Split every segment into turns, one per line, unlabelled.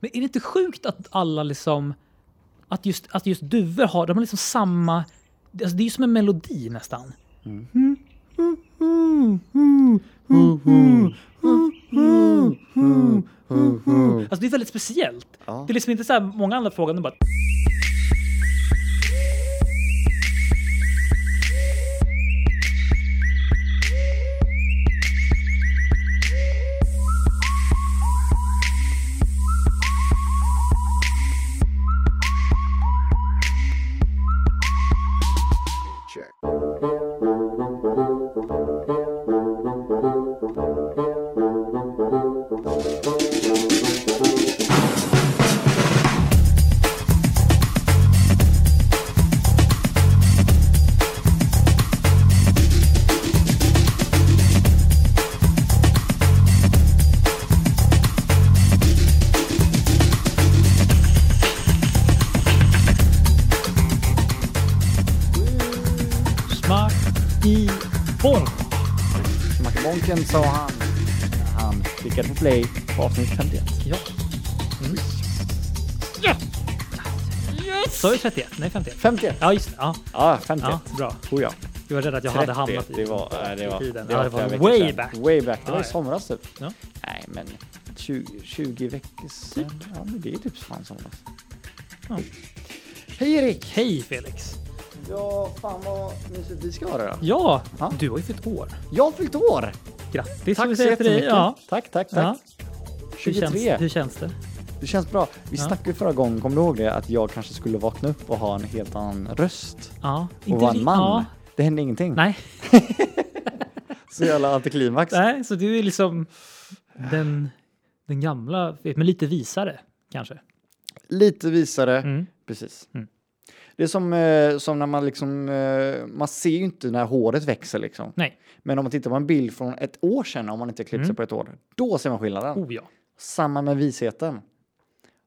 Men är det inte sjukt att alla liksom... Att just, att just duvor har, de har liksom samma... Alltså det är ju som en melodi nästan. Alltså det är väldigt speciellt.
Ja.
Det är liksom inte så här många andra frågor, de bara...
Check.
Smack i form.
Macbonken sa han när han klickade på play på avsnitt 51.
Ja. Mm. Ja! Yes! Sa jag 31? Nej, 51.
51?
Ja, just det. Ja,
Ja, 51.
ja, bra.
Tror jag.
Jag var rädd att jag hade hamnat i
det var, nej, det var,
i tiden.
det
ja,
var,
det
flera
var
veckor
way
sedan.
back.
Way back. Det var i
Ja, ja.
somras typ.
Ja.
Nej, men 20, 20 veckor sedan. Ja, men det är typ fan somras.
Ja.
Hej Erik!
Hej Felix!
Ja, fan vad mysigt vi ska ha det då.
Ja,
Ja.
du har ju fyllt år.
Jag har fyllt år!
Grattis får vi
Tack så
säga till dig.
jättemycket.
Ja.
Tack, tack,
Ja.
tack.
Hur,
23.
känns, hur känns det?
Det känns bra. Vi
Ja.
snackade ju förra gången, kommer du ihåg det? Att jag kanske skulle vakna upp och ha en helt annan röst
Ja.
och vara
ri-
en man.
Ja.
Det hände ingenting.
Nej.
Så jävla antiklimax.
Nej, så du är liksom den, den gamla, men lite visare kanske.
Lite visare.
Mm.
Precis.
Mm.
Det är som, eh, som när man liksom, eh, man ser ju inte när håret växer liksom.
Nej,
Men om man tittar på en bild från ett år sedan, om man inte har klippt
Mm.
sig på ett år, då ser man skillnaden.
oh ja.
Samma med visheten.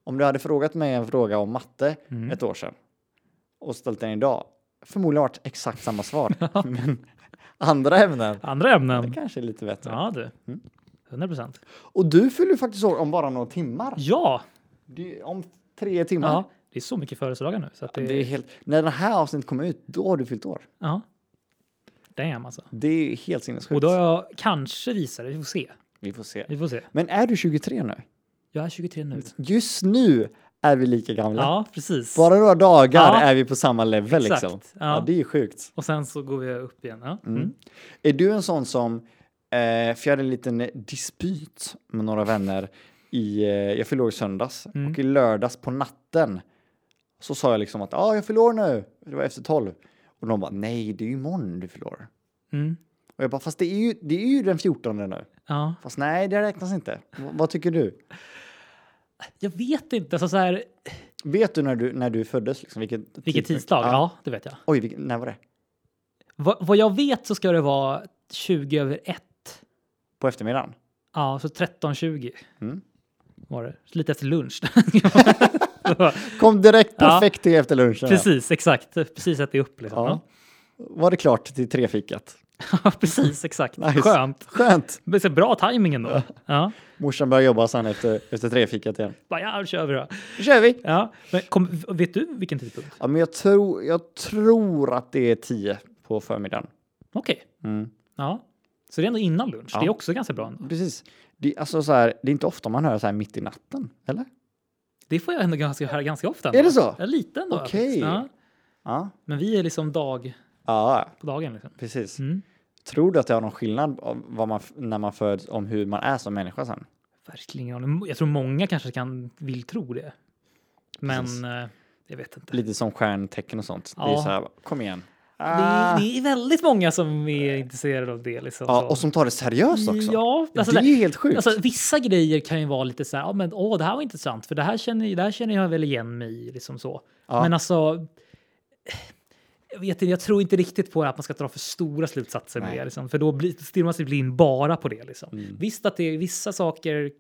Om du hade frågat mig en fråga om matte
Mm.
ett år sedan och ställt den idag, förmodligen varit exakt samma svar. Men andra ämnen,
Andra
det
ämnen.
kanske är lite bättre.
Ja du. 100 procent.
Och du fyller ju faktiskt år om bara några timmar.
Ja.
Det är Om tre timmar.
ja, det är så mycket födelsedagar nu. Så att det,
Det är helt... När det här avsnittet kommer ut, då har du fyllt år.
ja. Damn alltså.
Det är helt sinnessjukt.
Och då har jag kanske visare, vi får se.
Vi får se.
Vi får se.
Men är du 23 nu?
Jag är 23 nu.
Just nu är vi lika gamla.
Ja, precis.
Bara några dagar
Ja.
är vi på samma level
Exakt,
liksom.
ja.
Ja. det är sjukt.
Och sen så går vi upp igen. Ja. Mm.
Är du en sån som, eh, för jag hade en liten dispyt med några vänner i, eh, jag fyllde år i söndags
Mm.
och i lördags på natten så sa jag liksom att ja, ah, jag fyller år nu. Det var efter 12 och de bara nej, det är ju imorgon du fyller år.
Mm.
Och jag bara fast det är ju, det är ju den 14 nu.
Ja.
Fast nej, det räknas inte. V- vad tycker du?
Jag vet inte. Alltså, så här,
Vet du när du, när du föddes? Liksom, vilket
vilket
tidpunkt?
tisdag? Ja. det vet jag.
Oj, vilken, när var det?
Va, vad jag vet så ska det vara 20 över 1.
På eftermiddagen?
Ja, så 13.20
Mm.
var det. Så lite efter lunch.
Kom direkt
Ja.
perfekt till efter lunchen. här.
precis, exakt. Precis att det är upp. Liksom.
Ja.
Ja.
Var det klart till trefikat?
precis, exakt.
Nice.
Skönt.
Skönt!
Men så bra tajming ändå. Ja. Ja.
Morsan börjar jobba sen efter, efter trefikat igen.
Bara, ja, då kör vi då.
Nu kör vi!
Ja. Men kom, vet du vilken tidpunkt?
Ja, men jag, tror, jag tror att det är tio på förmiddagen.
Okej.
Mm.
Ja. Så det är ändå innan lunch.
Ja.
Det är också ganska bra. Ändå.
Precis. Det, alltså, så här, det är inte ofta man hör så här mitt i natten, eller?
Det får jag ändå ganska, höra ganska ofta.
Är det så?
Ja, lite ändå.
Okej.
faktiskt. Ja.
Ja,
Men vi är liksom dag
ja
på dagen. Liksom.
precis.
Mm.
Tror du att det har någon skillnad av vad man, f- när man föds om hur man är som människa sen?
Verkligen. ingen aning. Jag tror många kanske kan, vill tro det. Men
Precis.
eh, jag vet inte.
Lite som stjärntecken och sånt. Det är
Ja.
så här, kom igen. Ah.
Det, är- det är väldigt många som är intresserade av det. Liksom.
Ja, och som tar det seriöst också.
Ja, alltså,
det är
det
ju helt sjukt.
alltså, vissa grejer kan ju vara lite så här, ja, men, åh, det här var intressant, för det här känner, det här känner jag väl igen mig i. Liksom så.
Ja.
Men alltså, jag, vet inte, jag tror inte riktigt på att man ska dra för stora slutsatser med
Nej. Mm.
det, liksom, för då blir, stirrar man sig blind bara på det. Liksom. Visst att det är vissa saker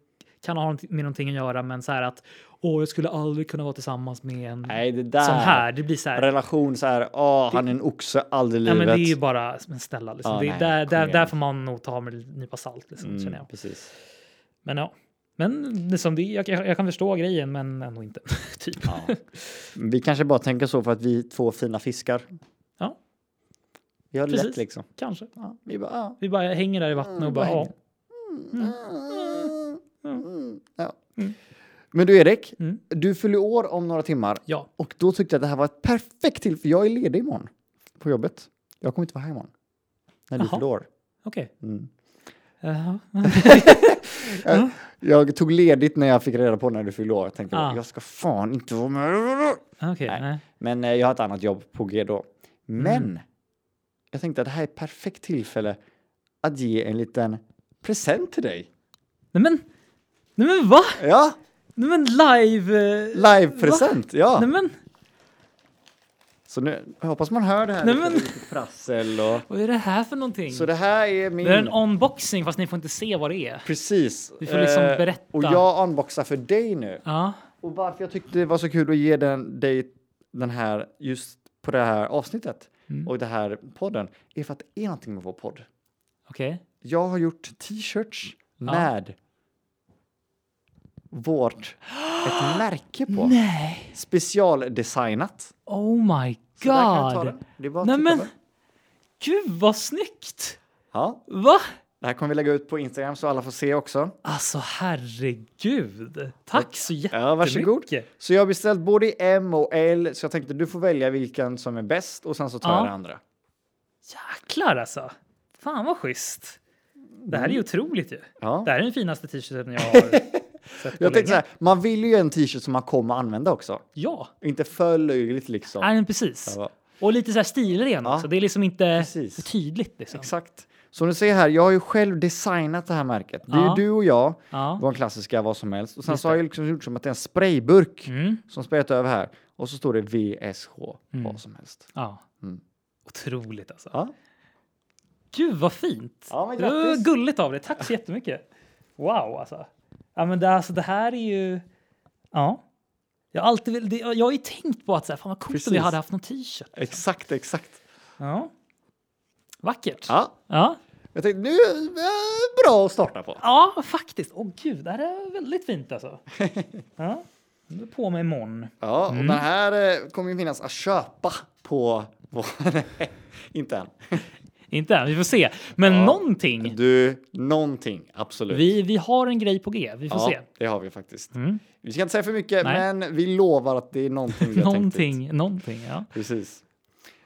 kan ha nånt- med någonting att göra, men så här att åh, jag skulle aldrig kunna vara tillsammans med en
Nej, det där.
sån här. Det blir så här,
Relation så här, åh, han är en oxe, aldrig i
ja,
livet.
men det är ju bara, men snälla, liksom.
Ja,
det, är
nej,
där,
kom
där,
igen. Mm.
där får man nog ta med en nypa salt, liksom, känner jag.
precis.
Men ja. Men liksom, det, jag, jag kan förstå grejen, men ändå inte. typ.
Ja. Vi kanske bara tänker så för att vi är två fina fiskar.
Ja.
Vi har det
Precis.
lätt liksom.
Kanske.
Ja, vi bara, ah. ja.
Vi bara hänger där i vattnet och
Mm,
bara,
bara
ja.
hänger.
Mm.
Ja.
Mm.
Men du Erik,
Mm.
du fyller år om några timmar
ja.
och då tyckte jag att det här var ett perfekt till för jag är ledig imorgon på jobbet. Jag kommer inte vara här imorgon. När du
Jaha.
fyller år.
Okej.
Mm.
Jaha.
Jag, jag tog ledigt när jag fick reda på när du fyllde år. Jag tänkte
Ah.
bara, jag ska fan inte vara med.
Okej.
Nej.
nej.
Men eh, jag har ett annat jobb på G då. Men
Mm.
jag tänkte att det här är ett perfekt tillfälle att ge en liten present till dig.
Nej men, nej men va?
Ja,
Nej men live... eh,
live-present.
va?
Ja.
Nej men,
Så nu jag hoppas man hör det här.
Nej,
lite-
men-
lite prassel och...
vad är det här för någonting?
Så
det,
det här är min...
är en unboxing fast ni får inte se vad det är.
Precis.
Vi får liksom
Eh,
berätta.
Och jag unboxar för dig nu.
Ja,
Och varför jag tyckte det var så kul att ge den, dig den här just på det här avsnittet
Mm.
och det här podden är för att det är någonting med vår podd.
okej.
Jag har gjort t-shirts med vårt ett märke på.
Nej!
Specialdesignat.
Oh my
Så där kan jag ta
god!
den. Det är bara att
Nej,
titta
men-
på den.
Gud vad snyggt!
Ja,
Va?
det här kommer vi lägga ut på Instagram så alla får se också.
Alltså herregud! Tack så jättemycket!
Ja, varsågod. Så jag har beställt både i M och L så jag tänkte du får välja vilken som är bäst och sen så tar
Ja.
jag det andra.
Jäklar alltså! Fan vad schysst! Det här är
Mm.
ju otroligt ju.
Ja.
Det här är den finaste t-shirten jag har sett på
Jag
länge.
tänkte så här, man vill ju en t-shirt som man kommer använda också.
Ja,
Inte för löjligt liksom.
nej, men precis.
Ja,
Och lite så här stilren också. Det är liksom inte
Precis.
för tydligt. Liksom.
Exakt. Som du ser här, jag har ju själv designat det här märket. Det är
Ja.
ju du och jag,
Ja.
vår klassiska vad som helst. Och sen
Just
så har
det.
jag liksom gjort som att det är en sprayburk
Mm.
som sprayat över här. Och så står det VSH, vad som helst.
ja.
Mm.
Otroligt alltså.
Ja.
Gud vad fint!
Ja, men
det var
grattis.
gulligt av dig. Tack så jättemycket. Wow alltså. Ja, men det, alltså det här är ju... Ja. Jag har, alltid, vill- det- jag har ju tänkt på att så här, fan vad coolt om
Precis.
jag hade haft någon t-shirt.
Exakt, exakt.
Ja. Vackert.
Ja,
Ja.
jag tänkte nu är det bra att starta på.
Ja, faktiskt. Åh gud, det här är väldigt fint alltså. Ja. Nu är det på mig imorgon.
Ja, och den här eh, kommer ju finnas att köpa på vår... Nej, inte än.
Inte än, vi får se. Men
Ja.
någonting.
Du, någonting, absolut.
Vi, vi har en grej på G, vi får
ja,
se.
det har vi faktiskt.
Mm.
Vi ska inte säga för mycket,
Nej.
men vi lovar att det är någonting vi har tänkt ut.
Någonting, någonting. Ja.
Precis.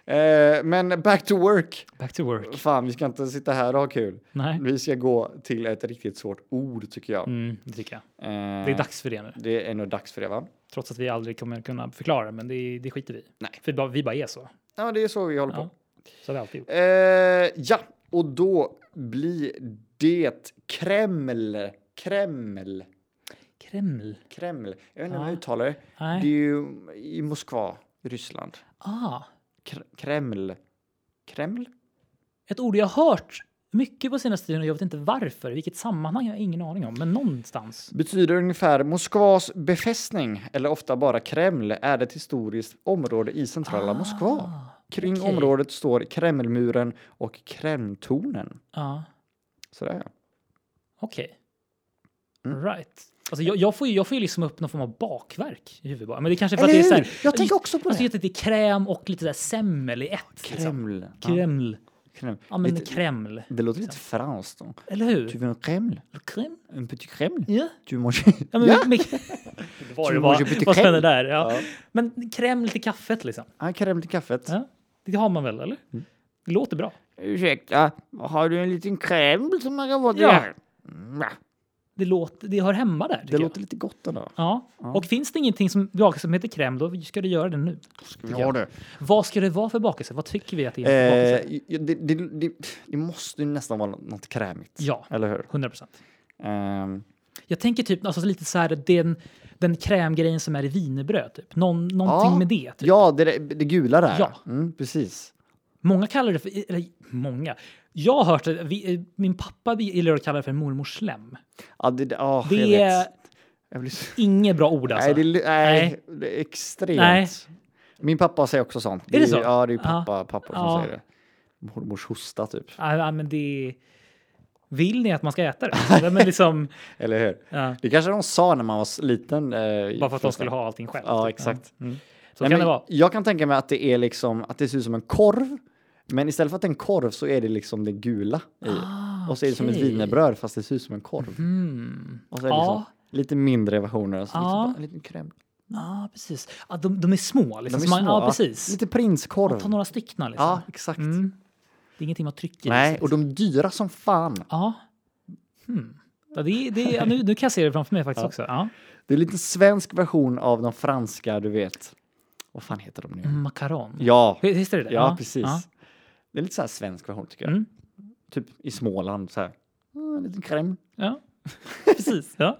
Eh, men back to work.
Back to work.
Fan, vi ska inte sitta här och ha kul.
Nej,
Vi ska gå till ett riktigt svårt ord tycker jag.
mm, det tycker jag.
Eh,
Det är dags för det nu.
Det är nog dags för det, va?
Trots att vi aldrig kommer kunna förklara, men det, det skiter vi i.
Nej.
För vi bara, vi bara är så.
Ja, det är så vi håller
Ja. Så har vi alltid gjort.
på. Eh, ja, och då blir det Kreml. Kreml.
Kreml?
Kreml. Jag vet inte hur
Ja.
man uttalar det. Det är
Nej.
ju i Moskva, i Ryssland.
Ah,
Kr- Kreml. Kreml?
ett ord jag har hört mycket på senaste tiden och jag vet inte varför. I vilket sammanhang jag har ingen aning om, men någonstans.
betyder ungefär Moskvas befästning, eller ofta bara Kreml, är ett historiskt område i centrala Moskva.
Ah,
Kring
okej.
området står Kremlmuren och Kremltornen.
Ja,
Sådär ja.
Ah, okej.
Mm.
Right. Alltså, jag, jag, får ju, jag får ju liksom upp någon form av bakverk i huvudet bara. Men det kanske är för att det är så här,
Jag tänker också på
Alltså
det.
just att det är kräm och lite där semmel i ett. Liksom.
Kreml. Ja,
Kreml.
Kreml.
Ja, men
Lite- Typ.
kreml.
Det låter lite franskt. då.
Eller hur?
Tu veux un Kreml?
Kreml?
Un petit Kreml?
Ja.
Tu manges...
ja, men,
Ja.
men, det var det
Du måste byta
var, vad
kreml.
spännande där. Ja.
Ja.
Men kreml till kaffet liksom.
Ja, Kreml till kaffet.
Ja. Det har man väl, eller?
Mm.
Det låter bra.
Ursäkta, har du en liten Kreml som man kan få till
Ja.
här? Mm,
Det, låter, det hör hemma där.
Det
tycker jag.
låter lite gott ändå.
Ja. Och finns det ingenting som bakelse som heter kreml, då ska du göra det nu.
Ja, du.
Vad ska det vara för bakelse? Vad tycker vi att det är för
Eh,
bakelse?
ju- det, det, det, det måste ju nästan vara nå- något krämigt.
Ja.
Eller hur?
100 procent.
Ehm,
Jag tänker typ alltså, lite så här den, den krämgrejen som är i wienerbröd. Typ. Någon, någonting
Ja.
med det. Typ.
ja, det, där- det gula där.
Ja.
Mm, precis.
Många kallar det för, eller många. Jag har hört att vi, eh, min pappa gillar att kalla det för mormors slem.
Ja, det, det, ah, jag
Det är
vet. Jag blir så...
inget bra ord alltså.
nej, det, är li- nej,
Nej.
det är extremt.
Nej.
Min pappa säger också sånt.
det så?
Ja, det är ju
Ja.
pappa, pappor som
Ja.
säger det. Mormors hosta typ.
Ja, ja, men det är Vill ni att man ska äta det? Så, men liksom,
Eller hur?
ja,
Det kanske de sa när man var s- liten. Eh,
bara för att de skulle ha allting själv.
Ja,
typ.
exakt.
Mm. Så kan
Nej, men
det vara.
Jag kan tänka mig att det är liksom att det ser ut som en korv. Men istället för att det är en korv så är det liksom det gula i.
Ah,
och så är det som ett
okej.
wienerbröd fast det ser ut som en korv.
Mm.
Och så är det
Ja.
liksom lite mindre versioner. Alltså lite,
Ja.
bara en liten crème.
Ja, precis. Ja, de, de är små. Liksom.
De är
Så man,
små,
ja,
ja.
precis.
Lite prinskorv.
Man tar några stycken. Liksom.
Ja, exakt.
Mm. Det är ingenting man trycker i
Nej,
sig,
och de dyra som fan.
Ja. Hmm. Ja, det, det, ja, nu, nu kan jag se det framför mig faktiskt också. Ja.
Det är lite svensk version av de franska, du vet. Vad fan heter de nu?
Mm, Macaron.
Ja,
Vi- Visst är det det?
ja, precis.
ja.
Det är lite så här svensk version tycker jag.
Mm.
Typ i Småland så här. Mm, en liten crème.
Ja. precis. Ja.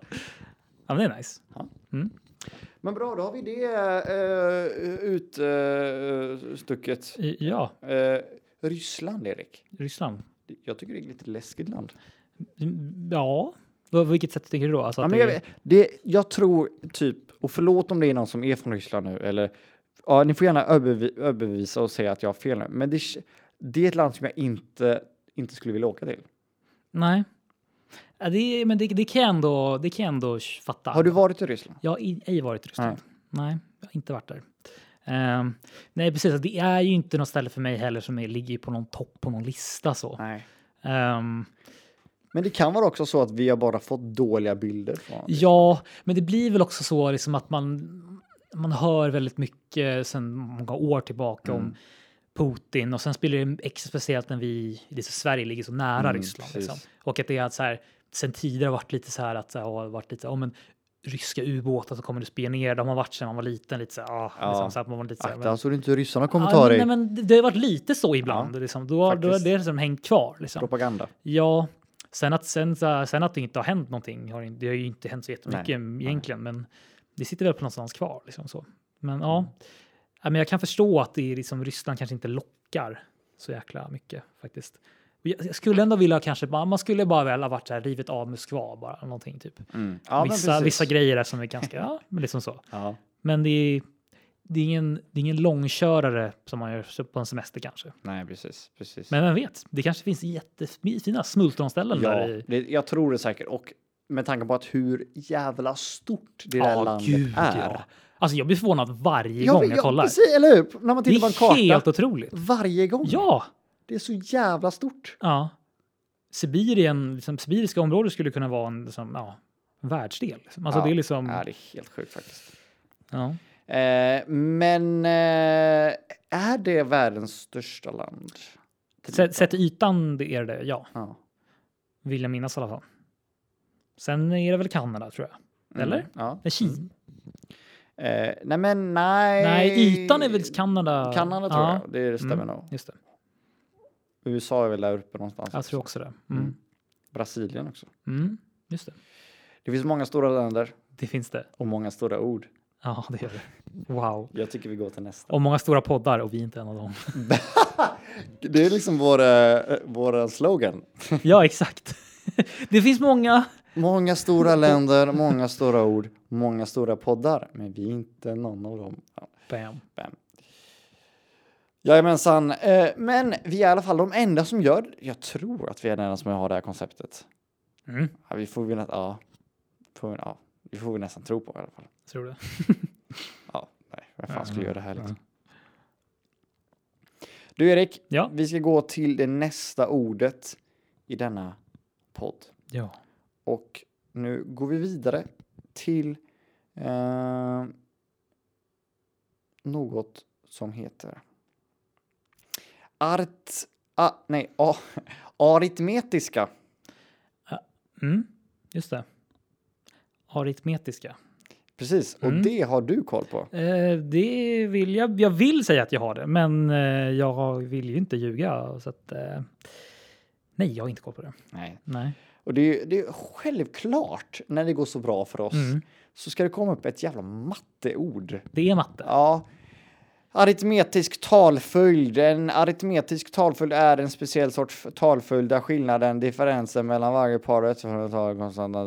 ja, men det är nice.
Men bra, då har vi det uh, utstucket.
I- Ja,
Eh, Ryssland, Erik.
Ryssland.
Jag tycker det är ett lite läskigt land.
Mm, Ja, på vilket sätt tänker du då? Alltså
Ja,
att
men
det
jag,
är-
vet- det, jag tror typ, och förlåt om det är någon som är från Ryssland nu, eller ja, ni får gärna övervi- överbevisa och säga att jag har fel nu, men det, det är ett land som jag inte, inte skulle vilja åka till.
Nej. Ja, det, men det, det, kan jag ändå, det kan jag ändå fatta.
Har du varit i Ryssland?
Jag har i- ej varit i Ryssland. Nej. jag har inte varit där. Ehm, nej, precis. Det är ju inte något ställe för mig heller som är, ligger på någon topp på någon lista så.
Nej.
Ehm,
Men det kan vara också så att vi har bara fått dåliga bilder från
ja,
liksom.
men det blir väl också så liksom att man, man hör väldigt mycket sedan många år tillbaka
Mm.
om Putin och sen spelar det extra speciellt när vi det är så Sverige ligger så nära
Mm,
Ryssland.
precis.
Liksom. Och att det är att så här, sen tidigare har varit lite så här att det har varit lite, ja men ryska ubåtar som kommer att spia ner, de har varit sedan man var liten lite så här, ah,
Ja.
liksom, så att man var lite så här, men-
Akta så du inte ryssarna kommer
Ja,
ta dig.
men, nej, men det- det har varit lite så ibland. liksom. då, har- då har
faktiskt.
det som hängt kvar. Liksom.
Propaganda.
Ja, sen att, sen, så- sen att det inte har hänt någonting. Har, in- det har ju inte hänt så jättemycket egentligen, men det sitter väl på någonstans kvar. Liksom, så. Men
Mm.
ja. ja, men jag kan förstå att det är liksom, Ryssland kanske inte lockar så jäkla mycket faktiskt. Jag jag skulle ändå vilja kanske, bara- man skulle bara väl ha varit så här, rivet av Moskva bara, eller någonting typ.
Mm. Ja, men
vissa,
precis.
vissa grejer där som är ganska, ja, men liksom så.
Ja.
Men det är, det är, ingen, det är ingen långkörare som man gör på en semester kanske.
Nej, precis. precis.
Men vem vet, det kanske finns jättefina smultronställen
ja,
där i.
det, jag tror det säkert. Och med tanke på att hur jävla stort det där
Ja,
landet
gud,
är.
ja. Alltså jag blir förvånad varje gång jag kollar.
Precis, eller hur? När man
det
tittar på en
är
karta.
helt otroligt.
Varje gång.
Ja,
Det är så jävla stort.
ja. Sibirien, liksom, sibiriska området skulle kunna vara en liksom, ja, en världsdel. Liksom. Alltså
ja.
det är liksom...
Ja, det är helt sjukt faktiskt.
Ja.
Eh, men eh, är det världens största land?
Sett, sett i ytan det är det, ja.
Ja.
Vill jag minnas i alla fall. Sen är det väl Kanada tror jag. Eller?
Mm, ja.
Men Kina,
Eh, nej, men nej.
Nej, ytan är väl Kanada?
Kanada tror
ja. Mm.
jag. Det stämmer nog.
Just det.
USA är väl där uppe någonstans.
Jag tror också det. Mm.
Brasilien också.
Mm. Just det.
Det finns många stora länder
Det finns det.
och många stora ord.
Ja, det gör det. Wow.
Jag tycker vi går till nästa.
Och många stora poddar och vi är inte en av dem.
Det är liksom vår, eh, vår slogan.
ja, exakt. det finns många.
Många stora länder, många stora ord, många stora poddar. Men vi är inte någon av dem. Ja.
Bam.
Jajamensan. Eh, Men vi är i alla fall de enda som gör Jag tror att vi är de enda som har det här konceptet.
Mm.
Ja, vi får väl nä- ja. Får vi, ja. Vi får väl nästan tro på i alla fall.
Tror du?
Ja, nej, vem fan
Ja,
skulle göra det här
ja.
liksom? Du Erik,
Ja.
vi ska gå till det nästa ordet i denna podd.
Ja.
Och nu går vi vidare till eh, något som heter art, ah, nej, a, aritmetiska.
Mm. Just det. Aritmetiska.
Precis, och
Mm.
det har du koll på.
Eh, det vill jag. Jag vill säga att jag har det, men eh, jag vill ju inte ljuga. Så att, eh, nej, jag har inte koll på det.
Nej.
Nej.
Och det är, ju- det är självklart, när det går så bra för oss,
Mm.
så ska det komma upp ett jävla matteord.
Det är matte.
Ja. Aritmetisk talföljd. En aritmetisk talföljd är en speciell sorts talföljd där skillnaden, differensen mellan varje par och ett tal konstanta...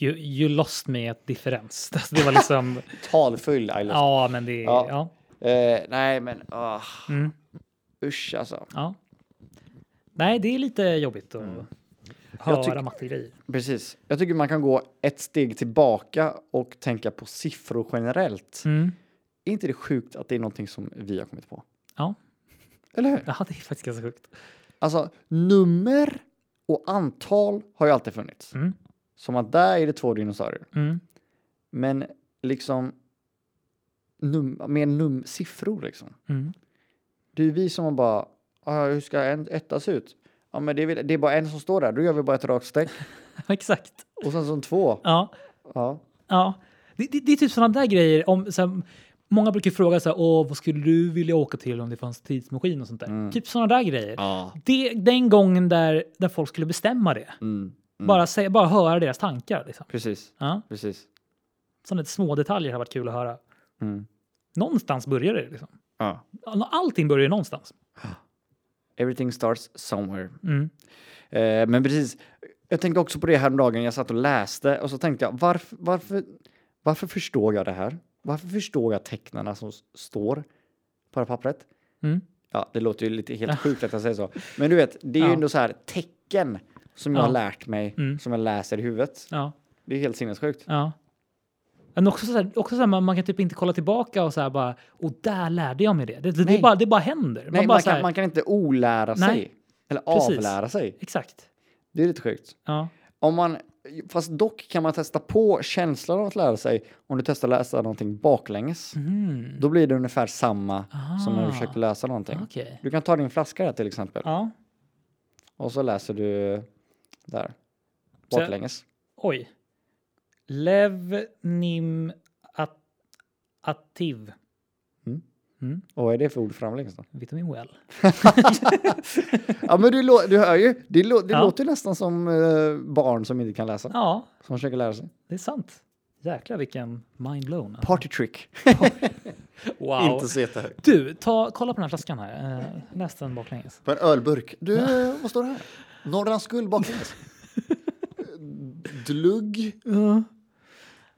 You, you lost me at differens. Alltså, Det var liksom...
Talföljd, I love.
ja, men det...
Ja.
Ja.
Eh, nej, men ah,
Mm,
usch alltså.
ja. Nej, det är lite jobbigt att
Mm. Jag tyck-
höra mattegrejer.
Precis. Jag tycker man kan gå ett steg tillbaka och tänka på siffror generellt.
Mm.
Är inte det sjukt att det är någonting som vi har kommit på?
Ja.
Eller hur?
ja, det är faktiskt ganska sjukt.
Alltså, nummer och antal har ju alltid funnits.
Mm.
Som att där är det två dinosaurier.
Mm.
Men liksom num med num siffror liksom.
Mm.
Det är ju vi som har bara, "Ah, hur ska en etta se ut? Ja, men det är, väl, det är bara en som står där, då gör vi bara ett rakt streck.
Exakt.
Och sen som två.
Ja.
Ja.
Ja, det, det, det är typ sådana där grejer. Om, så här, många brukar fråga så här, Åh, vad skulle du vilja åka till om det fanns tidsmaskin och sånt där.
Mm.
Typ sådana där grejer.
ja.
Det, den gången där, där folk skulle bestämma det.
Mm. Mm.
Bara, säga, bara höra deras tankar. Liksom.
Precis,
Ja,
precis.
sådana där små detaljer har varit kul att höra.
Mm.
Någonstans börjar det. Liksom.
Ja.
Allting börjar ju någonstans.
Everything starts somewhere.
Mm.
Eh, men precis, jag tänkte också på det här om dagen. Jag satt och läste och så tänkte jag varför, varför, varför förstår jag det här? Varför förstår jag tecknarna som s- står på det här pappret?
Mm.
Ja, det låter ju lite helt sjukt att jag säger så. Men du vet, det är ju
Ja.
ändå så här tecken som jag
Ja.
har lärt mig,
Mm.
som jag läser i huvudet.
Ja,
Det är helt sinnessjukt.
ja. Men också så här, också så här, man, man kan typ inte kolla tillbaka och så här bara, och där lärde jag mig det. Det, det,
Nej.
det, bara, det bara händer.
Nej, man,
bara så
kan,
här,
man kan inte olära
Nej.
sig. Eller
Precis.
avlära sig.
Exakt.
Det är lite sjukt.
Ja.
Om man, fast dock kan man testa på känslan av att lära sig om du testar läsa någonting baklänges.
Mm.
Då blir det ungefär samma som när
Ah.
du försöker läsa någonting.
Okej.
Du kan ta din flaska där till exempel
Ja.
och så läser du där
Så-
baklänges.
Oj. Lev nim at, ativ.
Mm.
Mm.
Och vad är det för ord framlänges då?
Vitamin well.
Ja men du, lå- du hör ju, det, lå- det
Ja.
låter ju nästan som eh, barn som inte kan läsa,
Ja,
som försöker lära sig.
det är sant. Jäklar vilken mindblown.
Party trick.
Wow.
så jättehögt.
Du, ta, kolla på den här flaskan här. Eh, läs den baklänges.
På en ölburk. Du, vad står det här? Norrlands guld baklänges. Dlugg.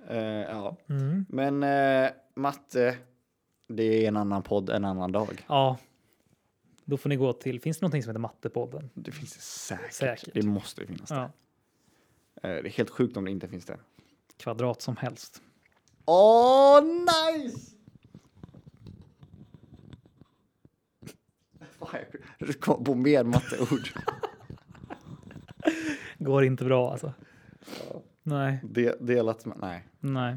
Eh, ja.
Mm.
Men eh, matte, det är en annan podd en annan dag.
Ja. Då får ni gå till, finns det någonting som heter Mattepodden?
Det finns det säkert.
Säkert.
Det måste ju finnas.
Ja.
Eh, det är helt sjukt om det inte finns det.
Kvadrat som helst.
Åh, nice! Fan, Jag kom på mer matteord.
Går inte bra alltså. Nej,
De, delat med... Nej.
nej,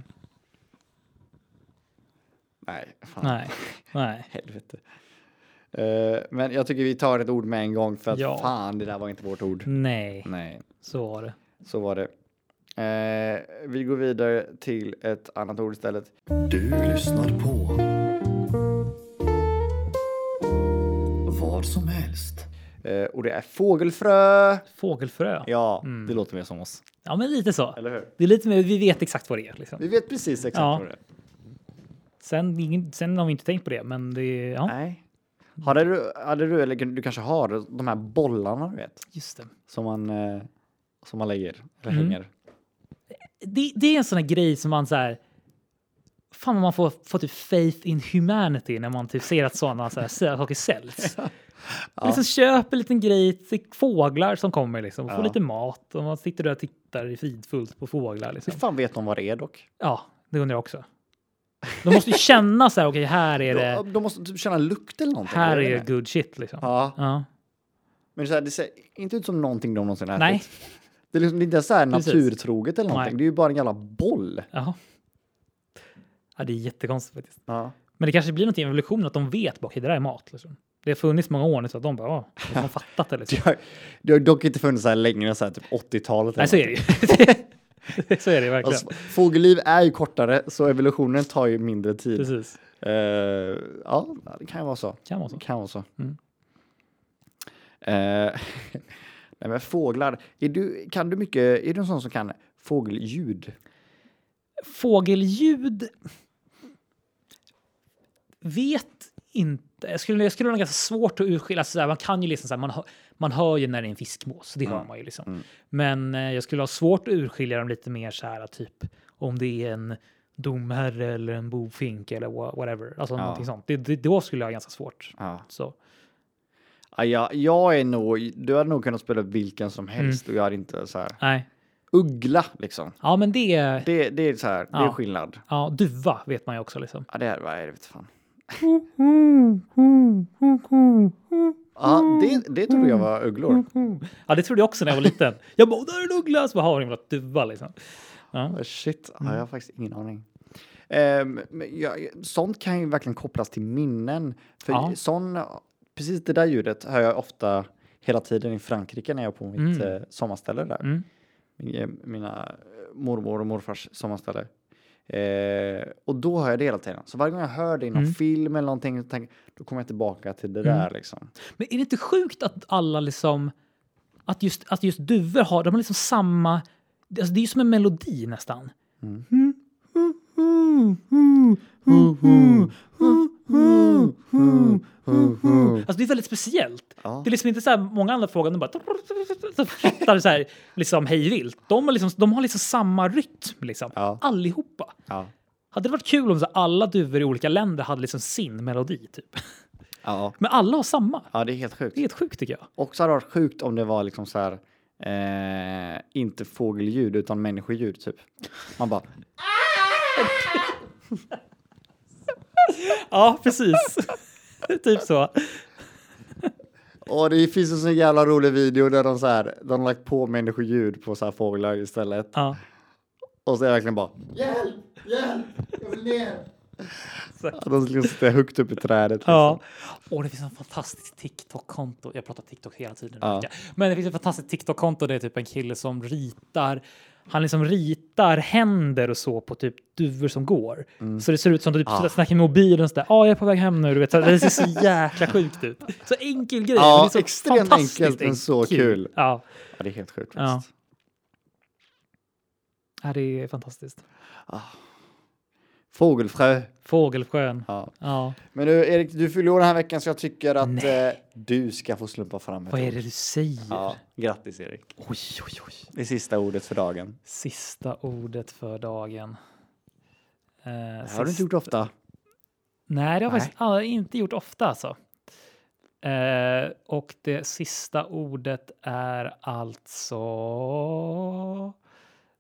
Nej. Fan.
nej, nej.
Helvete. Eh, men jag tycker vi tar ett ord med en gång för att
Ja. Mm.
fan, det där var inte vårt ord.
Nej,
Nej.
så var det.
Så var det. Eh, vi går vidare till ett annat ord istället.
Du lyssnar på vad som helst.
Eh, och det är fågelfrö.
Fågelfrö.
Ja, det låter mer som oss.
Ja, men lite så.
Eller Mm. hur?
Det är lite mer, vi vet exakt vad det är. Liksom.
Vi vet precis exakt
Ja.
vad det är.
Sen, ingen- sen har vi inte tänkt på det, men det är... Ja,
Nej. Hade du, hade du, eller du kanske har, de här bollarna du vet,
just det.
som man, eh, som man lägger eller
Mm.
hänger.
det. Det är en sån här grej som man så här... Fan vad man får, får typ faith in humanity när man typ ser att sådana så här, sä- saker säljs. Man Liksom köper en liten grej till fåglar som kommer liksom, och får
Ja.
lite mat och man sitter där och tittar fridfullt på fåglar. Liksom.
Hur fan vet de vad det är dock?
Ja, det undrar jag också. De måste ju känna så här, okej, här är
De,
det,
de måste typ känna lukt eller någonting.
här
jag
är
vet
det
inte.
good shit liksom.
Ja,
Ja.
men så här, det ser inte ut som någonting de någonsin har
Nej,
ätit. Det är, liksom, det är inte så här
Precis.
naturtroget eller någonting.
Nej.
Det är ju bara en jävla boll.
ja. ja. Det är jättekonstigt faktiskt.
Ja.
Men det kanske blir någonting med evolutionen att de vet bara okej, det där är mat. Liksom. Det har funnits många år nu så att de bara, ja, de har fattat det. Liksom.
Det har, det har dock inte funnits så här länge, så här typ 80-talet. eller
Nej, så är det ju. så är det ju verkligen.
Alltså, fågelliv är ju kortare, så evolutionen tar ju mindre tid.
Precis.
Eh, ja, det kan ju vara så.
Kan vara
Det
så.
kan vara så.
Mm.
Eh, nej, men fåglar. Är du, kan du mycket? Är du en sån som kan fågelljud?
Fågelljud vet inte. Jag skulle, jag skulle nog ganska svårt att urskilja. Sådär, man kan ju liksom såhär, man, hör, man hör ju när det är en fiskmås. Det hör man ju liksom. Men eh, jag skulle ha svårt att urskilja dem lite mer så här typ om det är en domherre eller en bofink eller wha- whatever. Alltså
Ja.
någonting sånt. Det, det, då skulle jag ha ganska svårt.
Ja.
Så.
Ja, jag, jag är nog, du hade nog kunnat spela vilken som helst
Mm.
och jag hade inte så här.
Nej.
Uggla liksom.
Ja, men det är...
Det, det är så här, det är
Ja.
skillnad.
Ja, duva vet man ju också liksom.
Ja, det är vad är det vet fan. Ja, det, det trodde jag var ugglor.
Ja, det trodde jag också när jag var liten. Jag bara, "Åh, där är en uggla! Så bara, "Ha, hon är en jävla duva liksom. Ja.
Oh, Shit, ja,
Mm.
jag har faktiskt ingen aning. Ehm, men jag, sånt kan ju verkligen kopplas till minnen. För
Ja.
sån, precis det där ljudet hör jag ofta hela tiden i Frankrike när jag är på mitt
Mm.
eh, sommarställe där.
Mm.
Min- eh, Mina eh, mormor och morfars sommarställe. Eh, och då hör jag det hela tiden. Så varje gång jag hör det i någon
Mm.
film eller någonting, så tänker, jag, då kommer jag tillbaka till det
Mm.
där liksom.
Men är det inte sjukt att alla liksom... Att just, att just duvor har, de har liksom samma... Alltså det är ju som en melodi nästan. Alltså det är väldigt speciellt.
Ja.
Det är liksom inte så här många andra frågor, de bara... Så flyttar så här, liksom hejvilt. De har liksom, de har liksom samma rytm, liksom.
Ja.
Allihopa.
Ja.
Hade det varit kul om så här, alla duvor i olika länder hade liksom sin melodi, typ.
Ja.
Men alla har samma.
ja, det är helt sjukt.
Det är helt sjukt tycker jag.
Också hade varit sjukt om det var liksom så här, eh, inte fågelljud utan människoljud typ. Man bara,
Ja, precis. typ så.
åh det finns en sån jävla rolig video där de så här, de har lagt på människoljud på så här fåglar istället.
Ja,
Och så är det verkligen bara,
Hjälp! Hjälp! Jag vill ner!
att de skulle sitta högt upp i trädet.
ja.
liksom.
Och det finns en fantastisk TikTok-konto. Jag pratar TikTok hela tiden.
Ja.
märker jag. Men det finns ett fantastiskt TikTok-konto. Det är typ en kille som ritar. Han liksom ritar händer och så på typ duvor som går. Så det ser ut som du typ
Ah.
snackar i mobilen. och sådär. Ja, jag är på väg hem nu. Du vet. Så Det ser så jäkla sjukt ut. Så enkel grej.
Ja,
men det är så
extremt
fantastiskt
enkelt, men så kul.
Ja.
Ja, det är helt sjukt
Ja.
faktiskt.
ja, det är fantastiskt.
Fågelfrö.
Fågelsjön.
Ja.
Ja.
Men du Erik, du fyller år den här veckan så jag tycker att
Nej.
eh, du ska få slumpa fram ett
Vad är
ord.
det du säger?
Ja, grattis Erik.
Oj, oj, oj.
Det är sista ordet för dagen.
Sista ordet för dagen. Eh,
Det har
sist-
du inte gjort ofta.
Nej, det har jag
Nej.
faktiskt aldrig- inte gjort ofta alltså. Eh, och det sista ordet är alltså...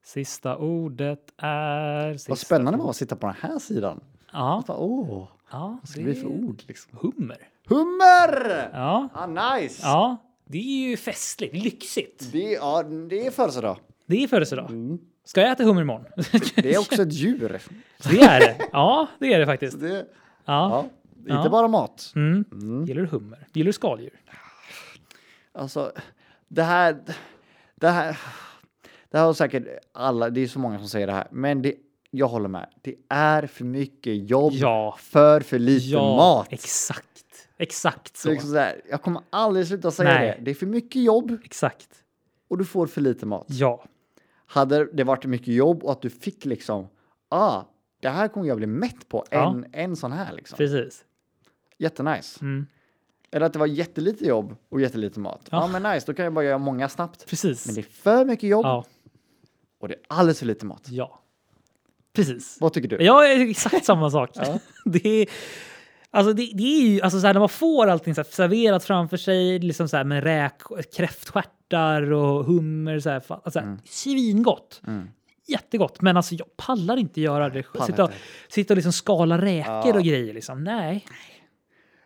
Sista ordet är... Sista
Vad spännande det var att sitta på den här sidan.
Ja,
Jag bara, Åh,
ja,
vad ska det bli för ord liksom?
Hummer.
Hummer!
Ja,
Ah, nice!
ja, det är ju festligt, lyxigt.
Det, ja, det är födelsedag.
Det är födelsedag. Ska jag äta hummer imorgon?
Det är också ett djur.
det är det. Ja, det är det faktiskt.
Det, ja.
Ja.
Inte
Ja.
bara mat.
Mm. Gillar du hummer? Gillar du skaldjur?
Alltså, det här... Det här... Det här har säkert alla, det är så många som säger det här, men det, jag håller med. Det är för mycket jobb,
Ja.
för för lite mat.
exakt. Exakt
Så.
så.
Liksom så här, jag kommer aldrig sluta säga
Nej.
det. Det är för mycket jobb
Exakt.
och du får för lite mat.
Ja.
Hade det varit mycket jobb och att du fick liksom, ah, det här kommer jag bli mätt på,
Ja.
en, en sån här liksom.
Precis.
Jättenice.
Mm.
Eller att det var jättelite jobb och jättelite mat. Ja.
Ja.
men nice, då kan jag bara göra många snabbt.
Precis.
Men det är för mycket jobb
Ja.
och det är alldeles för lite mat.
Ja. Precis.
Vad tycker du?
Jag är exakt samma sak.
Ja.
det är... Alltså det, det är ju, alltså så här, när man får allting så här serverat framför sig liksom så här med räk, kräftstjärtar och hummer, så här, fa- alltså,
Mm.
svingott. Jättegott, men alltså jag pallar inte göra det.
pallar
Sitta och,
inte.
sitta och liksom skala räkor
Ja.
och grejer liksom. Nej.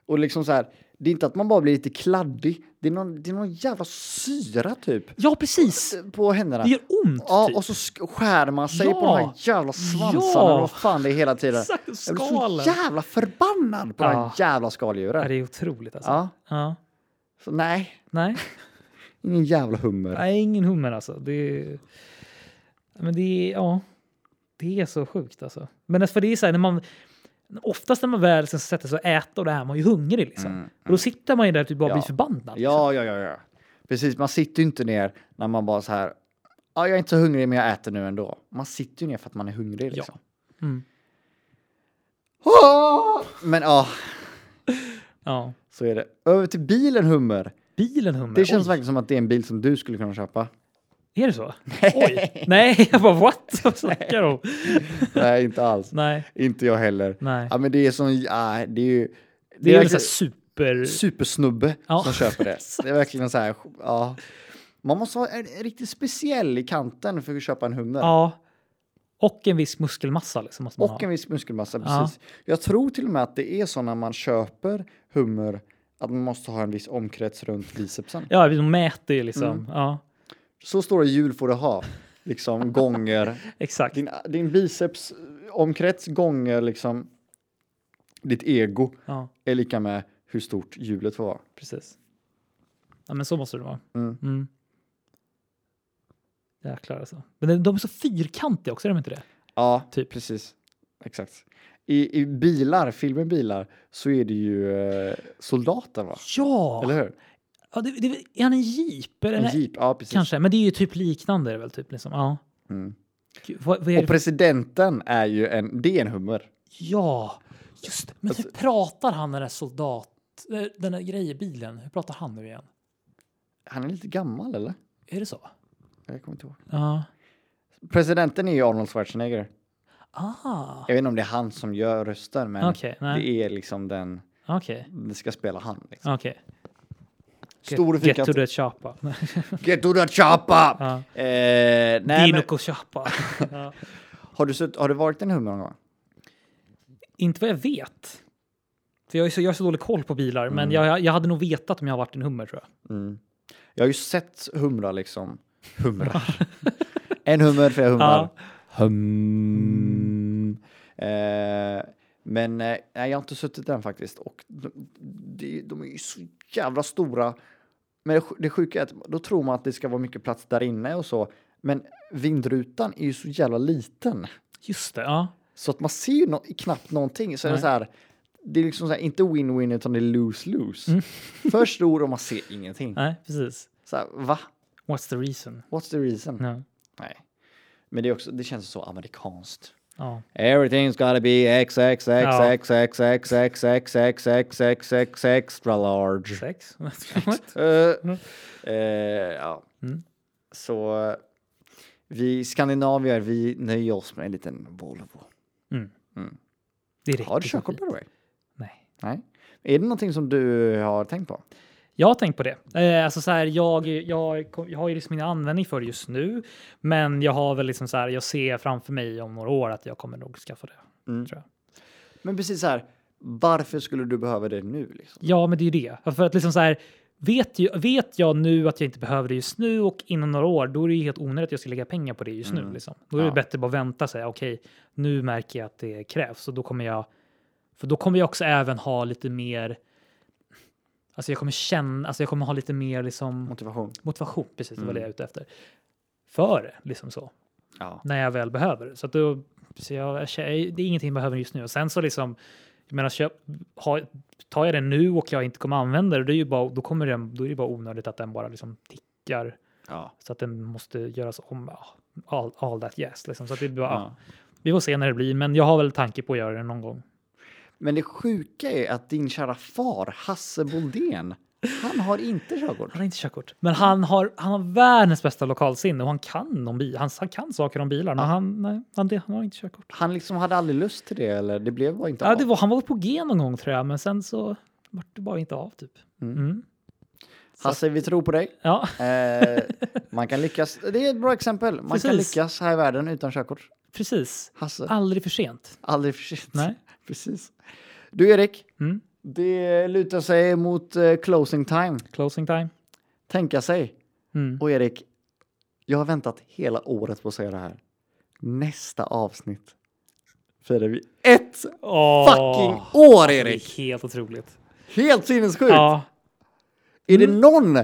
Och liksom så här, det är inte att man bara blir lite kladdig. Det är någon, det är någon jävla syra typ
Ja, precis.
på händerna.
Det gör ont.
Ja,
typ.
och så sk- skär man sig
Ja.
på de här jävla svansarna.
Ja.
Ja. Vad fan det är hela tiden.
Exakt,
jag blir så
skalen.
jävla förbannad på de här
Ja.
jävla
Ja,
skaldjuren.
det är otroligt alltså.
Ja,
Ja.
så nej,
Nej.
ingen jävla hummer.
Nej, ingen hummer alltså. Det är... Men det är, ja. Det är så sjukt alltså. Men alltså, för det är så här, när man... Oftast när man väl sen sätter sig och äter och det här, man är ju hungrig liksom. Och då sitter man ju där typ bara
Mm, Ja.
blir förbannad. liksom.
Ja, ja, ja, ja. Precis, man sitter ju inte ner när man bara så här. Ja, jag är inte så hungrig, men jag äter nu ändå. Man sitter ju ner för att man är hungrig. Liksom.
Mm.
Ah! Men ja,
ja.
så är det. Över till bilen Hummer.
Bilen hummer.
Det känns
Oj,
verkligen som att det är en bil som du skulle kunna köpa.
Är det så? Oj. Nej, jag bara what? Vad snackar du om?
Nej, inte alls.
Nej,
Inte jag heller.
nej.
Ja, men det är som, ja, det är ju.
Det är
verkligen-
väl så här super...
supersnubbe
Ja.
som köper det. Det är verkligen så här, ja. Man måste vara en- en riktigt speciell i kanten för att köpa en hummer.
Ja. Och en viss muskelmassa liksom måste man
Och
ha.
en viss muskelmassa,
Ja.
precis. Jag tror till och med att det är så när man köper hummer att man måste ha en viss omkrets runt bicepsen.
Ja, de mäter ju liksom.
Mm.
Ja,
Så stora hjul får du ha, liksom gånger.
exakt.
Din, din biceps omkrets gånger liksom ditt ego
Ja,
är lika med hur stort hjulet får vara.
precis. Ja, men så måste det vara.
Mm.
Mm. Jäklar alltså. Men de är så fyrkantiga också, är de inte det?
Ja,
Typ.
precis. Exakt. I, I bilar, filmen Bilar, så är det ju eh, soldaten va?
Ja!
Eller hur?
ja det, det, är han en jeep? Eller?
En jeep, ja precis.
Kanske, men det är ju typ liknande. är det Väl, typ, liksom. ja.
Mm.
Gud, vad, vad är det
Och
för...
presidenten är ju en, det är en hummer.
Ja, just det. Men hur
Alltså-
pratar han den där soldat... eh, Den där grejbilen, hur pratar han nu igen?
Han är lite gammal eller?
Är det så?
Jag kommer inte ihåg.
Ja.
Presidenten är ju Arnold Schwarzenegger.
Ah,
Jag vet inte om det är han som gör rösten men
okej. nej,
det är liksom den,
Okej.
det ska spela han. Liksom.
Okej.
Stor
Get, get to
fyrkant.
the chapa. Nej,
Get to the choppa!
Ja.
Eh, nej, men,
Dinoco chapa. ja.
har, du sett, har du varit en hummer någon gång?
Inte vad jag vet. För jag, är så, jag har så dålig koll på bilar, men jag, jag hade nog vetat om jag har varit en hummer tror jag.
Mm. Jag har ju sett humrar liksom. Humrar. en hummer, flera humrar.
Ja. Mm.
Hum. Eh, men eh, nej, jag har inte suttit den faktiskt. Och de, de, de är ju så jävla stora. Men det sj- det sjuka är att då tror man att det ska vara mycket plats där inne och så. Men vindrutan är ju så jävla liten.
Just det, ja.
Så att man ser ju nå- knappt någonting. Så är det
Nej.
så här. Det är liksom så här, inte win-win utan det är lose-lose.
Mm.
För stor och man ser ingenting.
Nej, precis.
Så här, va?
What's the reason?
What's the reason?
Ja.
Nej. Men det, är också, det känns så amerikanskt.
ja.
Everything's gotta be x x x
Ja.
x x x x x x x x x extra large.
Sex?
Eh,
Mm.
eh, ja.
Mm.
Så eh, vi skandinavier, vi nöjer oss med en liten Volvo.
Det räcker
Har du
så
körkort
fint.
by the way?
Nej.
Nej. Är det någonting som du har tänkt på?
Jag har tänkt på det. Eh, alltså så här, jag, jag, kom- jag har ju liksom min användning för det just nu, men jag har väl liksom så här, jag ser framför mig om några år att jag kommer nog skaffa det.
Mm.
Tror jag.
Men precis så här, varför skulle du behöva det nu? Liksom?
Ja, men det är ju det. För att liksom så här, vet, ju, vet jag nu att jag inte behöver det just nu och inom några år, då är det ju helt onödigt att jag ska lägga pengar på det just
Mm.
nu. Liksom. Då är det
Ja.
bättre att bara vänta och säga okej, nu märker jag att det krävs och då kommer jag. För då kommer jag också även ha lite mer. Alltså, jag kommer känna, alltså, jag kommer ha lite mer liksom
Motivation?
motivation. Precis vad
Mm.
det jag är ute efter. För det, liksom så
Ja.
när jag väl behöver det. Så, att då, så jag, jag, kä- det är ingenting jag behöver just nu. Och sen så liksom, jag menar, köp, ha, tar jag den nu och jag inte kommer använda det, det är ju bara, då, kommer den, då är det bara onödigt att den bara liksom tickar
ja.
så att den måste göras om. ja, All, all that yes, liksom. Så att det är bara,
ja.
ja. Vi får se när det blir, men jag har väl tanke på att göra det någon gång.
Men det sjuka är att din kära far, Hasse Boldén, han har inte körkort.
Han har inte körkort, men han har, han har världens bästa lokalsinne och han kan, om bil, han, han kan saker om bilar, men han, nej, han, det, han har inte körkort.
Han liksom hade aldrig lust till det eller det blev bara inte
Ja,
av.
det var, han var på G någon gång tror jag, men sen så vart det bara inte av typ.
Mm.
Mm.
Hasse, vi tror på dig.
Ja,
Eh, man kan lyckas. Det är ett bra exempel. Man kan
Precis.
lyckas här i världen utan körkort.
precis.
Hasse,
Aldrig för sent.
aldrig för sent.
Nej.
Precis. Du Erik,
Mm.
det lutar sig mot eh, closing time.
Closing time.
Tänka sig.
Mm.
Och Erik, jag har väntat hela året på att säga det här. Nästa avsnitt firar vi ett fucking år
Det
Erik!
är helt otroligt.
Helt sinnessjukt!
Ja, Mm.
Är det någon,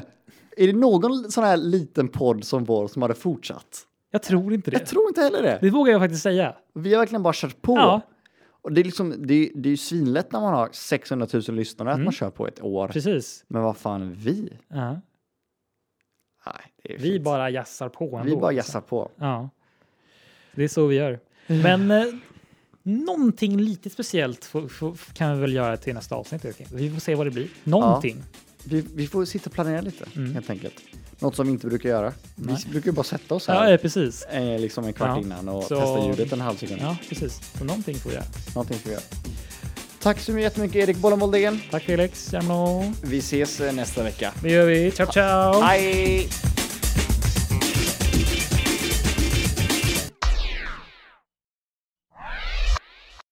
är det någon sån här liten podd som vår som hade fortsatt?
jag tror inte
Jag
det.
tror inte heller det.
Det vågar jag faktiskt säga.
Vi har verkligen bara kört på.
Ja.
Och det är liksom, det är, det är ju svinlätt när man har 600 000 lyssnare att man kör på ett år.
Mm. Precis.
Men vad fan vi?
Ja.
Nej, det är
Vi
fint.
bara jassar på ändå.
vi bara
liksom.
jassar på.
Ja. Det är så vi gör. Men eh, någonting lite speciellt får- får- kan vi väl göra till nästa avsnitt. Joakim. Vi får se vad det blir. Någonting.
Vi, vi får sitta och planera lite
Mm.
helt enkelt. Något som vi inte brukar göra. Vi brukar ju bara sätta oss
Ja,
här
eh, precis.
eh, liksom en kvart
Ja.
innan och
Så-
testa ljudet en halv sekund.
Ja, precis. Så någonting får vi göra.
Någonting ska vi göra. Tack så jättemycket Erik Bollen Boldén.
Tack Felix, Jarno.
Vi ses eh, nästa vecka.
Det gör vi. Ciao, ciao!
Hej!